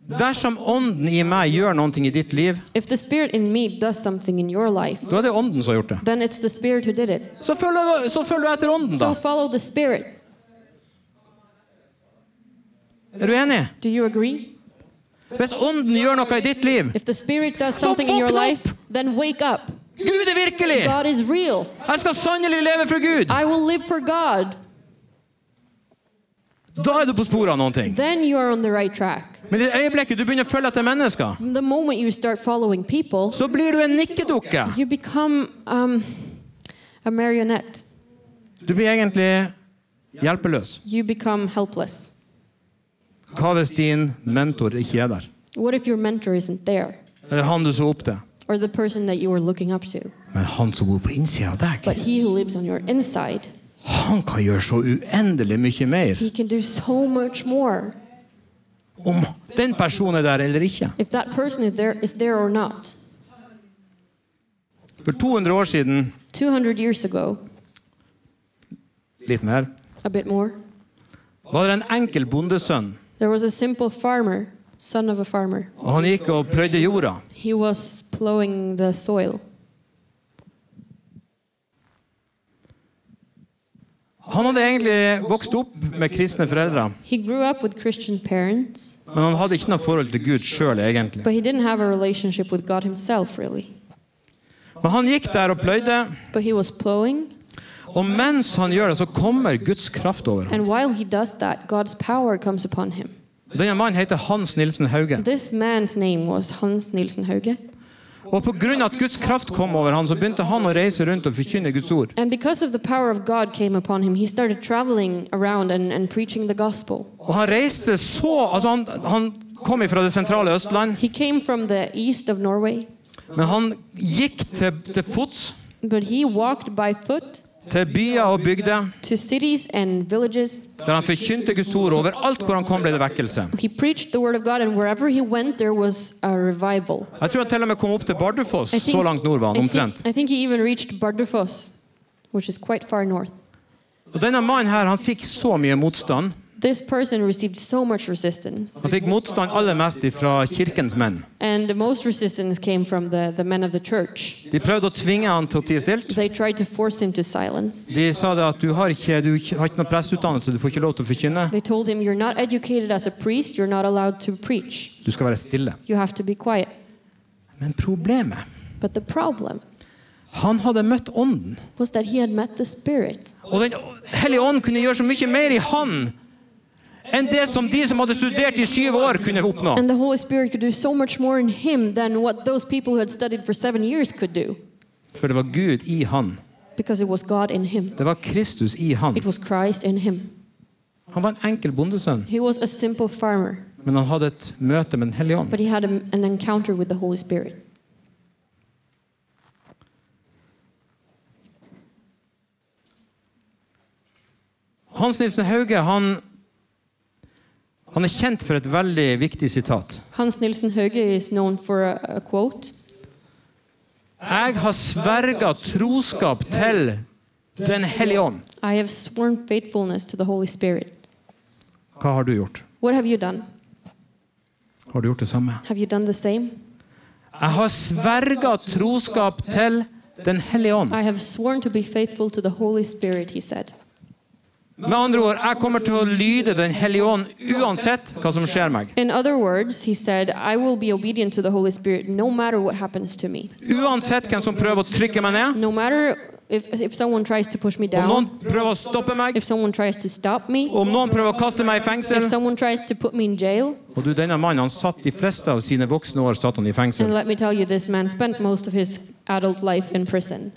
Speaker 2: Dersom ånden i meg gjør noe i ditt liv,
Speaker 3: If the Spirit in me does something in your life,
Speaker 2: da er det ånden som har gjort det.
Speaker 3: then it's the Spirit who did it.
Speaker 2: Så følg så følg etter ånden, da.
Speaker 3: So follow the Spirit.
Speaker 2: Er du enig?
Speaker 3: Do you agree?
Speaker 2: Hvis ånden gjør noe i ditt liv
Speaker 3: If the Spirit does something in your
Speaker 2: fucking
Speaker 3: life, then wake up.
Speaker 2: Gud er virkelig!
Speaker 3: God is real.
Speaker 2: Jeg skal sannelig leve for Gud!
Speaker 3: I will live for God.
Speaker 2: Da er du på sporet av noen ting.
Speaker 3: Then you are on the right track.
Speaker 2: Men i det øyeblikket du begynner å følge etter mennesker,
Speaker 3: The moment you start following people,
Speaker 2: så blir du en nikkedukke.
Speaker 3: you become um, a marionette.
Speaker 2: Du blir egentlig hjelpeløs.
Speaker 3: You become helpless.
Speaker 2: Hva hvis din mentor ikke er der?
Speaker 3: What if your mentor isn't there?
Speaker 2: Eller han du så opp til?
Speaker 3: Or the person that you were looking up to?
Speaker 2: Men han som bor på innsida av
Speaker 3: But
Speaker 2: deg,
Speaker 3: he who lives on your inside,
Speaker 2: han kan gjøre så uendelig mye mer
Speaker 3: he can do so much more
Speaker 2: om den personen er der eller ikke.
Speaker 3: if that person is there, is there or not.
Speaker 2: For 200 år siden,
Speaker 3: 200 years ago,
Speaker 2: litt mer,
Speaker 3: a bit more,
Speaker 2: var det en enkel bondesønn.
Speaker 3: there was a simple farmer, son of a farmer.
Speaker 2: Og han gikk og pløyde jorda.
Speaker 3: He was plowing the soil.
Speaker 2: Han hadde egentlig vokst opp med kristne foreldre,
Speaker 3: He grew up with Christian parents,
Speaker 2: men han hadde ikke noe forhold til Gud sjøl, egentlig.
Speaker 3: but he didn't have a relationship with God himself, really.
Speaker 2: Men han gikk der og pløyde,
Speaker 3: But he was plowing,
Speaker 2: og mens han gjør det, så kommer Guds kraft over ham.
Speaker 3: and while he does that, God's power comes upon him.
Speaker 2: Denne mannen heter Hans Nilsen Hauge.
Speaker 3: This man's name was Hans Nielsen Hauge,
Speaker 2: Og pga. at Guds kraft kom over ham, så begynte han å reise rundt og forkynne Guds ord.
Speaker 3: and because of the power of God came upon him, he started traveling around and, and preaching the gospel.
Speaker 2: Og han reiste så Altså, han, han kom fra det sentrale Østland,
Speaker 3: He came from the east of Norway,
Speaker 2: men han gikk til, til fots,
Speaker 3: but he walked by foot
Speaker 2: til byer og bygder,
Speaker 3: to cities and villages.
Speaker 2: der han forkynte Guds ord. Overalt hvor han kom, ble det vekkelse.
Speaker 3: He preached the word of God, and wherever he went, there was a revival.
Speaker 2: Jeg tror han til og med kom opp til Bardufoss.
Speaker 3: I think-
Speaker 2: Så langt nord var han
Speaker 3: I think-
Speaker 2: omtrent.
Speaker 3: I think he even reached Bardufoss, which is quite far north.
Speaker 2: Og Denne mannen her, han fikk så mye motstand.
Speaker 3: This person received so much resistance,
Speaker 2: Han fikk motstand aller mest fra kirkens menn.
Speaker 3: and the most resistance came from the, the men of the church.
Speaker 2: De prøvde å tvinge han til å tie stilt.
Speaker 3: They tried to force him to silence.
Speaker 2: De sa det at du har ikke, du har ikke noen presseutdannelse, du får ikke lov til å forkynne.
Speaker 3: They told him, You're not educated as a priest, you're not allowed to preach,
Speaker 2: Du skal være stille.
Speaker 3: you have to be quiet.
Speaker 2: Men problemet
Speaker 3: But the problem
Speaker 2: han hadde møtt Ånden.
Speaker 3: was that he had met the Spirit.
Speaker 2: Og Den hellige ånd kunne gjøre så mye mer i han enn det som de som hadde studert i syv år, kunne oppnå.
Speaker 3: And the Holy Spirit could do so much more in him than what those people who had studied for seven years could do,
Speaker 2: For det var Gud i han.
Speaker 3: because it was God in him,
Speaker 2: Det var Kristus i han.
Speaker 3: it was Christ in him.
Speaker 2: Han var en enkel bondesønn,
Speaker 3: He was a simple farmer,
Speaker 2: men han hadde et møte med Den hellige ånd.
Speaker 3: but he had a, an encounter with the Holy Spirit.
Speaker 2: Hans Nilsen Hauge han, han er kjent for et veldig viktig sitat.
Speaker 3: Hans Nielsen Hauge is known for a, a quote
Speaker 2: Jeg har sverga troskap til Den hellige ånd.
Speaker 3: I have sworn faithfulness to the Holy Spirit.
Speaker 2: Hva har du gjort?
Speaker 3: What have you done?
Speaker 2: Har du gjort det samme?
Speaker 3: Have you done the same?
Speaker 2: Jeg har sverga troskap til Den hellige ånd.
Speaker 3: I have sworn to be faithful to the Holy Spirit, he said.
Speaker 2: Med andre ord, jeg kommer til å lyde Den hellige ånd uansett hva som skjer meg.
Speaker 3: In other words, he said, I will be obedient to the Holy Spirit no matter what happens to me.
Speaker 2: Uansett hvem som prøver å trykke meg ned.
Speaker 3: No matter if, if someone tries to push me
Speaker 2: Om noen
Speaker 3: down,
Speaker 2: prøver å stoppe meg,
Speaker 3: if someone tries to stop me,
Speaker 2: om noen prøver å kaste meg i
Speaker 3: if
Speaker 2: fengsel
Speaker 3: someone tries to put me in jail.
Speaker 2: Og du, denne mannen, han satt de fleste av sine voksne år satt han i
Speaker 3: And
Speaker 2: fengsel.
Speaker 3: let me tell you, this man spent most of his adult life in prison.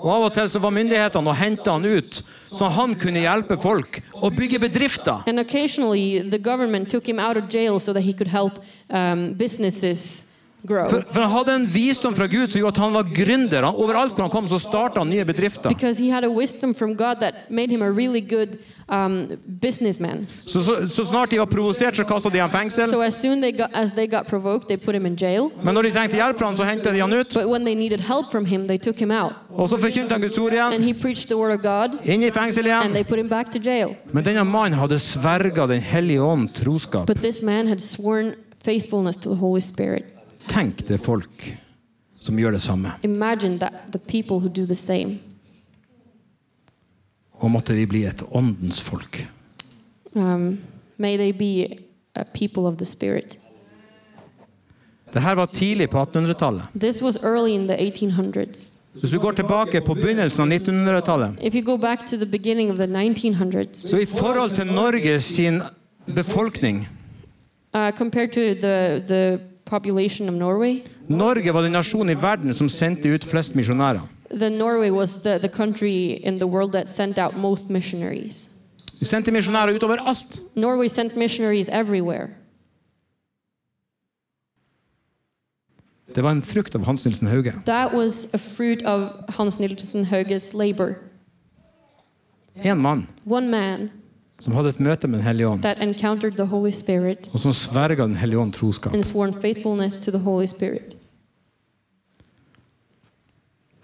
Speaker 2: Og Av og til så var myndighetene og hentet han ut, så han kunne hjelpe folk og bygge bedrifter.
Speaker 3: And occasionally, the government took him out of jail so that he could help um, businesses grow.
Speaker 2: For, for han hadde en visdom fra Gud som gjorde at han var gründer. Han, overalt hvor han kom, så starta han nye bedrifter.
Speaker 3: Because he had a wisdom from God that made him a really good um, businessman.
Speaker 2: Så, så, så snart de var provosert, så kasta de ham i fengsel.
Speaker 3: So as soon they got, as they got provoked, they put him in jail.
Speaker 2: Men når de trengte hjelp fra han, så hentet de han ut.
Speaker 3: But when they needed help from him, they took him out.
Speaker 2: Og så forkynte han Guds ord igjen.
Speaker 3: And he preached the word of God,
Speaker 2: Inn i fengsel
Speaker 3: and
Speaker 2: igjen.
Speaker 3: they put him back to jail.
Speaker 2: Men denne mannen hadde sverga Den hellige ånd troskap.
Speaker 3: But this man had sworn faithfulness to the Holy Spirit.
Speaker 2: Tenk det er folk som gjør det samme.
Speaker 3: Imagine that the people who do the same.
Speaker 2: Og måtte vi bli et åndens folk.
Speaker 3: Um, may they be a people of the Spirit.
Speaker 2: Det her var tidlig på 1800-tallet.
Speaker 3: This was early in the 1800s.
Speaker 2: Hvis du går tilbake på begynnelsen av 1900-tallet,
Speaker 3: If you go back to the beginning of the 1900s,
Speaker 2: så i forhold til Norge sin befolkning
Speaker 3: uh, compared to the, the population of Norway,
Speaker 2: Norge var den nasjonen i verden som sendte ut flest misjonærer.
Speaker 3: then Norway was the, the country in the world that sent out most missionaries.
Speaker 2: De sendte misjonærer utover alt.
Speaker 3: Norway sent missionaries everywhere.
Speaker 2: Det var en frukt av Hans Nilsen Hauge.
Speaker 3: That was a fruit of Hans Nielsen Hauge's labor.
Speaker 2: En mann
Speaker 3: One man
Speaker 2: som hadde et møte med Den hellige ånd,
Speaker 3: that encountered the Holy Spirit
Speaker 2: og som sverga Den hellige ånd troskap.
Speaker 3: and sworn faithfulness to the Holy Spirit.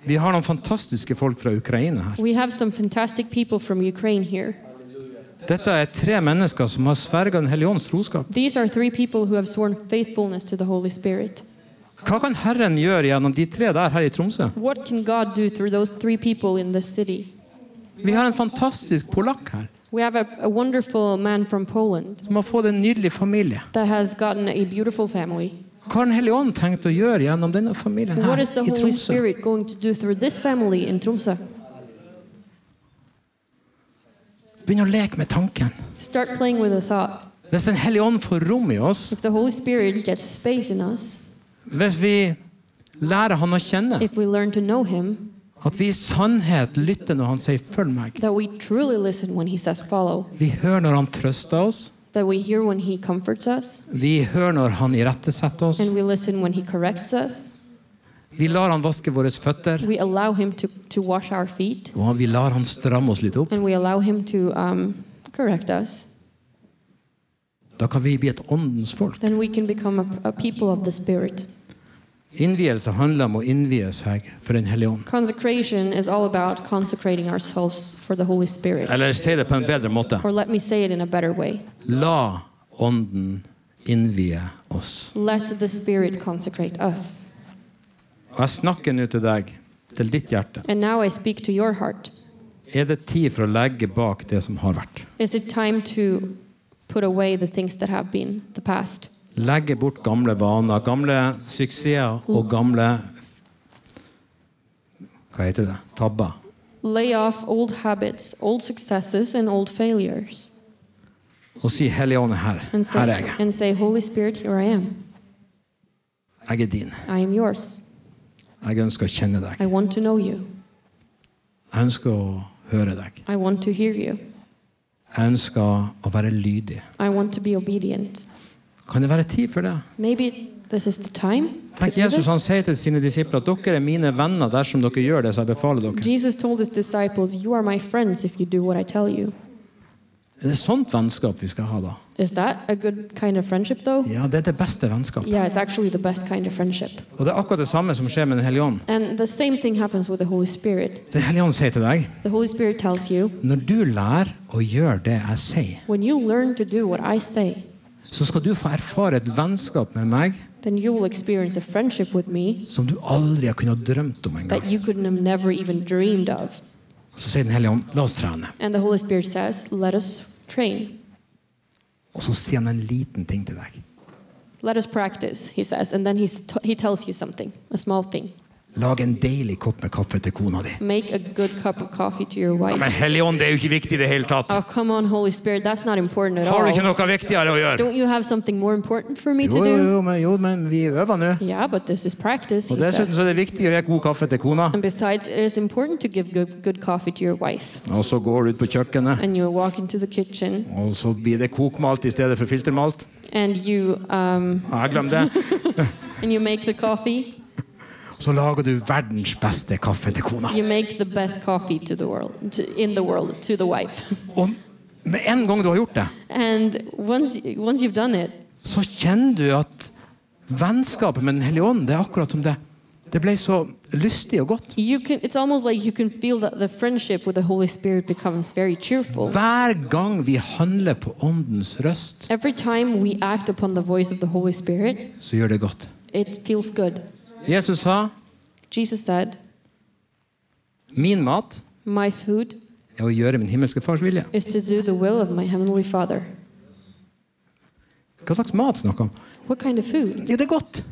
Speaker 2: Vi har noen fantastiske folk fra Ukraina her.
Speaker 3: We have some fantastic people from Ukraine here.
Speaker 2: Dette er tre mennesker som har sverga Den hellige ånds troskap.
Speaker 3: These are three people who have sworn faithfulness to the Holy Spirit.
Speaker 2: Hva kan Herren gjøre gjennom de tre der her i Tromsø?
Speaker 3: What can God do through those three people in this city?
Speaker 2: Vi har en fantastisk polakk her
Speaker 3: We have a, a wonderful man from Poland
Speaker 2: som har fått en nydelig familie.
Speaker 3: that has gotten a beautiful family.
Speaker 2: Hva har Den hellige ånd tenkt å gjøre gjennom denne familien
Speaker 3: What
Speaker 2: her
Speaker 3: is the
Speaker 2: i
Speaker 3: Holy
Speaker 2: Tromsø?
Speaker 3: Spirit going to do through this family in Tromsø?
Speaker 2: Begynn å leke med tanken.
Speaker 3: Start playing with a thought.
Speaker 2: Hvis Den hellige ånd får rom i oss,
Speaker 3: If the Holy Spirit gets space in us,
Speaker 2: hvis vi lærer Han å kjenne,
Speaker 3: if we learn to know Him,
Speaker 2: at vi i sannhet lytter når Han sier 'følg meg',
Speaker 3: that we truly listen when He says follow,
Speaker 2: vi hører når Han trøster oss,
Speaker 3: that we hear when He comforts us,
Speaker 2: vi hører når Han irettesetter oss,
Speaker 3: and we listen when He corrects us,
Speaker 2: vi lar Han vaske våre føtter,
Speaker 3: we allow Him to, to wash our feet,
Speaker 2: og vi lar Han stramme oss litt opp,
Speaker 3: and we allow Him to um, correct us,
Speaker 2: da kan vi bli et åndens folk.
Speaker 3: then we can become a, a people of the Spirit.
Speaker 2: Innvielse handler om å innvie seg for Den hellige ånd.
Speaker 3: Consecration is all about consecrating ourselves for the Holy Spirit.
Speaker 2: Eller si det på en bedre måte.
Speaker 3: Or let me say it in a better way
Speaker 2: La Ånden innvie oss.
Speaker 3: let the Spirit consecrate us.
Speaker 2: Og jeg snakker nå til deg, til ditt hjerte.
Speaker 3: And now I speak to your heart.
Speaker 2: Er det tid for å legge bak det som har vært?
Speaker 3: Is it time to put away the things that have been, the past?
Speaker 2: Legge bort gamle vaner, gamle suksesser og gamle Hva heter det? Tabber.
Speaker 3: Lay off old habits, old successes, and old failures.
Speaker 2: Og si Hellige Ånd er her.
Speaker 3: And say,
Speaker 2: Her er jeg.
Speaker 3: and say Holy Spirit, here I am.
Speaker 2: Jeg er din.
Speaker 3: I am yours.
Speaker 2: Jeg ønsker å kjenne deg.
Speaker 3: I want to know you.
Speaker 2: Jeg ønsker å høre deg.
Speaker 3: I want to hear you.
Speaker 2: Jeg ønsker å være lydig.
Speaker 3: I want to be obedient.
Speaker 2: Kan det være tid for det?
Speaker 3: Maybe this is the time. to
Speaker 2: Tenk
Speaker 3: do
Speaker 2: Jesus han
Speaker 3: this.
Speaker 2: sier til sine disipler at dere er mine venner dersom dere gjør det som jeg befaler dere.
Speaker 3: Jesus told his disciples, You are my friends if you do what I tell you.
Speaker 2: Er det sånt vennskap vi skal ha da?
Speaker 3: Is that a good kind of friendship, though?
Speaker 2: Ja, det er det beste vennskapet.
Speaker 3: Yeah, it's actually the best kind of friendship.
Speaker 2: Og det er akkurat det samme som skjer med Den hellige ånd.
Speaker 3: And the same thing happens with the Holy Spirit.
Speaker 2: Den hellige ånd sier til deg
Speaker 3: The Holy Spirit tells you,
Speaker 2: Når du lærer å gjøre det jeg sier,
Speaker 3: When you learn to do what I say,
Speaker 2: så skal du få erfare et vennskap med meg
Speaker 3: then you will experience a friendship with me
Speaker 2: som du aldri har kunnet drømt om engang.
Speaker 3: that you could have never even dreamed of.
Speaker 2: Og så sier Den hellige ånd, la oss trene.
Speaker 3: And the Holy Spirit says, Let us train.
Speaker 2: Og så sier han en liten ting til deg.
Speaker 3: Let us practice, he says. And then he's t- he tells you something, a small thing.
Speaker 2: Lag en deilig kopp med kaffe til kona di.
Speaker 3: Make a good cup of coffee to your
Speaker 2: Men
Speaker 3: wife.
Speaker 2: Hellige ånd, det er jo ikke viktig i det hele tatt.
Speaker 3: Oh, come on, Holy Spirit, that's not important at
Speaker 2: Har du ikke
Speaker 3: all.
Speaker 2: noe viktigere å gjøre?
Speaker 3: Don't you have something more important for me to
Speaker 2: Jo, jo,
Speaker 3: do?
Speaker 2: jo, men, jo, men vi øver nå.
Speaker 3: Yeah, but this is practice,
Speaker 2: Og
Speaker 3: he
Speaker 2: dessuten
Speaker 3: says.
Speaker 2: så er det viktig å gi god kaffe til kona.
Speaker 3: And besides, it is important to give good, good coffee to your wife.
Speaker 2: Og så går du ut på kjøkkenet,
Speaker 3: And you walk into the kitchen
Speaker 2: og så blir det kokmalt i stedet for filtermalt.
Speaker 3: and you um,
Speaker 2: Ja, jeg glem det.
Speaker 3: and you make the coffee.
Speaker 2: Så lager du verdens beste kaffe til kona.
Speaker 3: You make the best coffee to the world, to, in the world, to the wife.
Speaker 2: Og med en gang du har gjort det,
Speaker 3: And once once you've done it,
Speaker 2: så kjenner du at vennskapet med Den hellige ånd, det er akkurat som det Det ble så lystig og godt.
Speaker 3: you can. It's almost like you can feel that the friendship with the Holy Spirit becomes very cheerful.
Speaker 2: Hver gang vi handler på åndens røst,
Speaker 3: Every time we act upon the voice of the Holy Spirit,
Speaker 2: så gjør det godt.
Speaker 3: it feels good.
Speaker 2: Jesus sa
Speaker 3: Jesus said,
Speaker 2: Min mat
Speaker 3: "My food
Speaker 2: er å gjøre min himmelske fars vilje.
Speaker 3: is to do the will of my heavenly Father."
Speaker 2: Hva slags mat snakker han om?
Speaker 3: What kind of food?
Speaker 2: Jo, det er godt.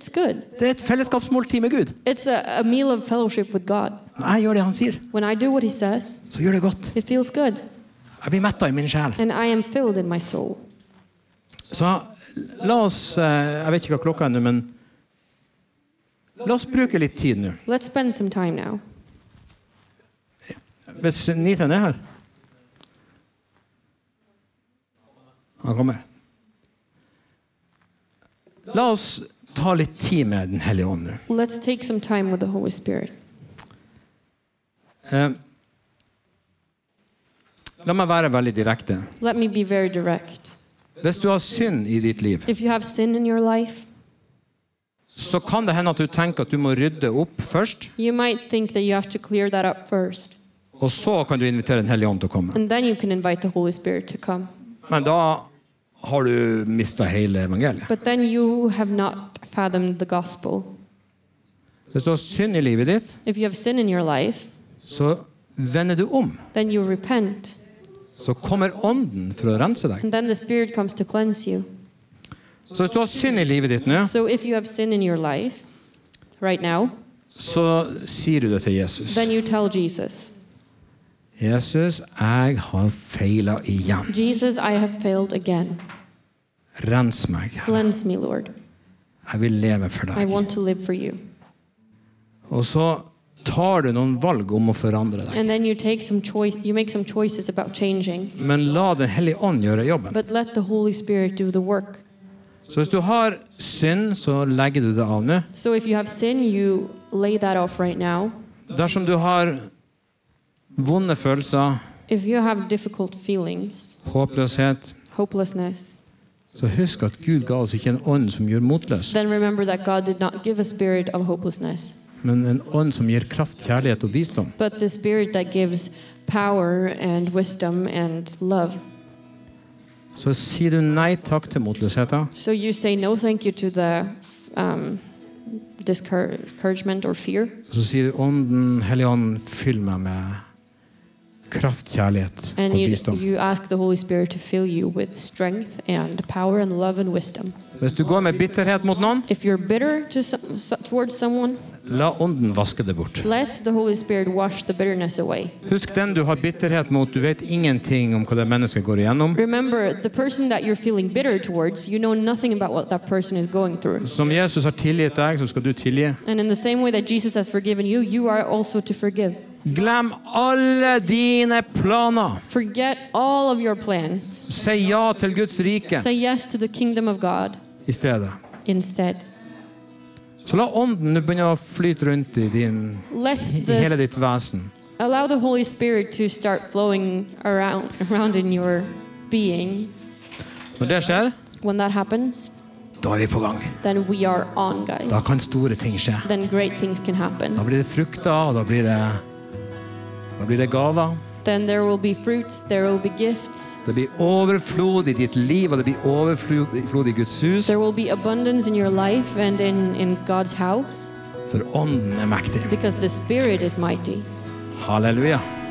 Speaker 3: It's good.
Speaker 2: Det er et fellesskapsmåltid med Gud.
Speaker 3: It's a, a meal of fellowship with God.
Speaker 2: Når jeg gjør det han sier,
Speaker 3: When I do what He says,
Speaker 2: så gjør det godt.
Speaker 3: it feels good,
Speaker 2: Jeg blir metta i min sjel.
Speaker 3: and I am filled in my soul.
Speaker 2: Så la oss eh, Jeg vet ikke hva klokka er nå, men La oss bruke litt tid nå.
Speaker 3: Let's spend some time now.
Speaker 2: Hvis Niten er her Han kommer. La oss ta litt tid med Den hellige ånd nå.
Speaker 3: Let's take some time with the Holy Spirit.
Speaker 2: Eh, La meg være veldig direkte.
Speaker 3: Let me be very direct.
Speaker 2: Hvis du har synd i ditt liv,
Speaker 3: If you have sin in your life,
Speaker 2: så kan det hende at du tenker at du må rydde opp først,
Speaker 3: you might think that you have to clear that up first,
Speaker 2: og så kan du invitere Den hellige ånd til å komme.
Speaker 3: and then you can invite the Holy Spirit to come.
Speaker 2: Men da har du mista hele evangeliet.
Speaker 3: But then you have not fathomed the gospel.
Speaker 2: Hvis du har synd i livet ditt,
Speaker 3: If you have sin in your life,
Speaker 2: så vender du om.
Speaker 3: then you repent,
Speaker 2: Så kommer Ånden for å rense deg.
Speaker 3: and then the Spirit comes to cleanse you.
Speaker 2: Så hvis du har synd i livet ditt nå,
Speaker 3: So if you have sin in your life right now,
Speaker 2: så sier du det til Jesus.
Speaker 3: then you tell Jesus,
Speaker 2: Jesus, jeg har feila igjen.
Speaker 3: Jesus, I have failed again.
Speaker 2: Rens meg.
Speaker 3: Cleanse me, Lord.
Speaker 2: Jeg vil leve for
Speaker 3: I
Speaker 2: deg.
Speaker 3: want to live for you.
Speaker 2: Og så tar du noen valg om å forandre deg.
Speaker 3: And then you take some choice you make some choices about changing.
Speaker 2: Men la Den hellige ånd gjøre jobben.
Speaker 3: But let the Holy Spirit do the work.
Speaker 2: Så hvis du har synd, så legger du det av nå.
Speaker 3: So if you have sin, you lay that off right now.
Speaker 2: Dersom du har vonde følelser,
Speaker 3: If you have difficult feelings,
Speaker 2: håpløshet,
Speaker 3: hopelessness,
Speaker 2: så husk at Gud ga oss ikke en ånd som gjør motløs,
Speaker 3: then remember that God did not give a spirit of hopelessness,
Speaker 2: men en ånd som gir kraft, kjærlighet og visdom.
Speaker 3: but the spirit that gives power and wisdom and love.
Speaker 2: Så sier du nei takk til motløsheten.
Speaker 3: So you say no thank you to the um, discouragement or fear.
Speaker 2: Så sier du Ånden, Hellige Ånd, fyll meg med kraft, kjærlighet
Speaker 3: And
Speaker 2: og
Speaker 3: you,
Speaker 2: visdom.
Speaker 3: you ask the Holy Spirit to fill you with strength and power and love and wisdom.
Speaker 2: Hvis du går med bitterhet mot noen,
Speaker 3: If you're bitter to some, so- towards someone,
Speaker 2: la Ånden vaske det bort.
Speaker 3: let the Holy Spirit wash the bitterness away.
Speaker 2: Husk den du har bitterhet mot. Du vet ingenting om hva det mennesket går igjennom.
Speaker 3: Remember, the person that you're feeling bitter towards, you know nothing about what that person is going through.
Speaker 2: Som Jesus har tilgitt deg, så skal du tilgi.
Speaker 3: And in the same way that Jesus has forgiven you, you are also to forgive.
Speaker 2: Glem alle dine planer.
Speaker 3: Forget all of your plans.
Speaker 2: Si ja til Guds rike
Speaker 3: Say yes to the kingdom of God
Speaker 2: i stedet.
Speaker 3: instead.
Speaker 2: Så la ånden nå begynne å flyte rundt i, din,
Speaker 3: Let
Speaker 2: i hele
Speaker 3: the
Speaker 2: ditt vesen.
Speaker 3: allow the Holy Spirit to start flowing around around in your being.
Speaker 2: Når det skjer,
Speaker 3: When that happens,
Speaker 2: da er vi på gang.
Speaker 3: then we are on,
Speaker 2: Da
Speaker 3: guys.
Speaker 2: kan store ting skje.
Speaker 3: Then great things can happen.
Speaker 2: Da blir det frukter, og da blir det, da blir det gaver.
Speaker 3: Then there will be fruits, there will be gifts,
Speaker 2: Det blir overflod i ditt liv, og det blir overflod flod i Guds hus.
Speaker 3: there will be abundance in your life and in, in God's house
Speaker 2: For ånden er mektig.
Speaker 3: because the Spirit is mighty.
Speaker 2: Halleluja.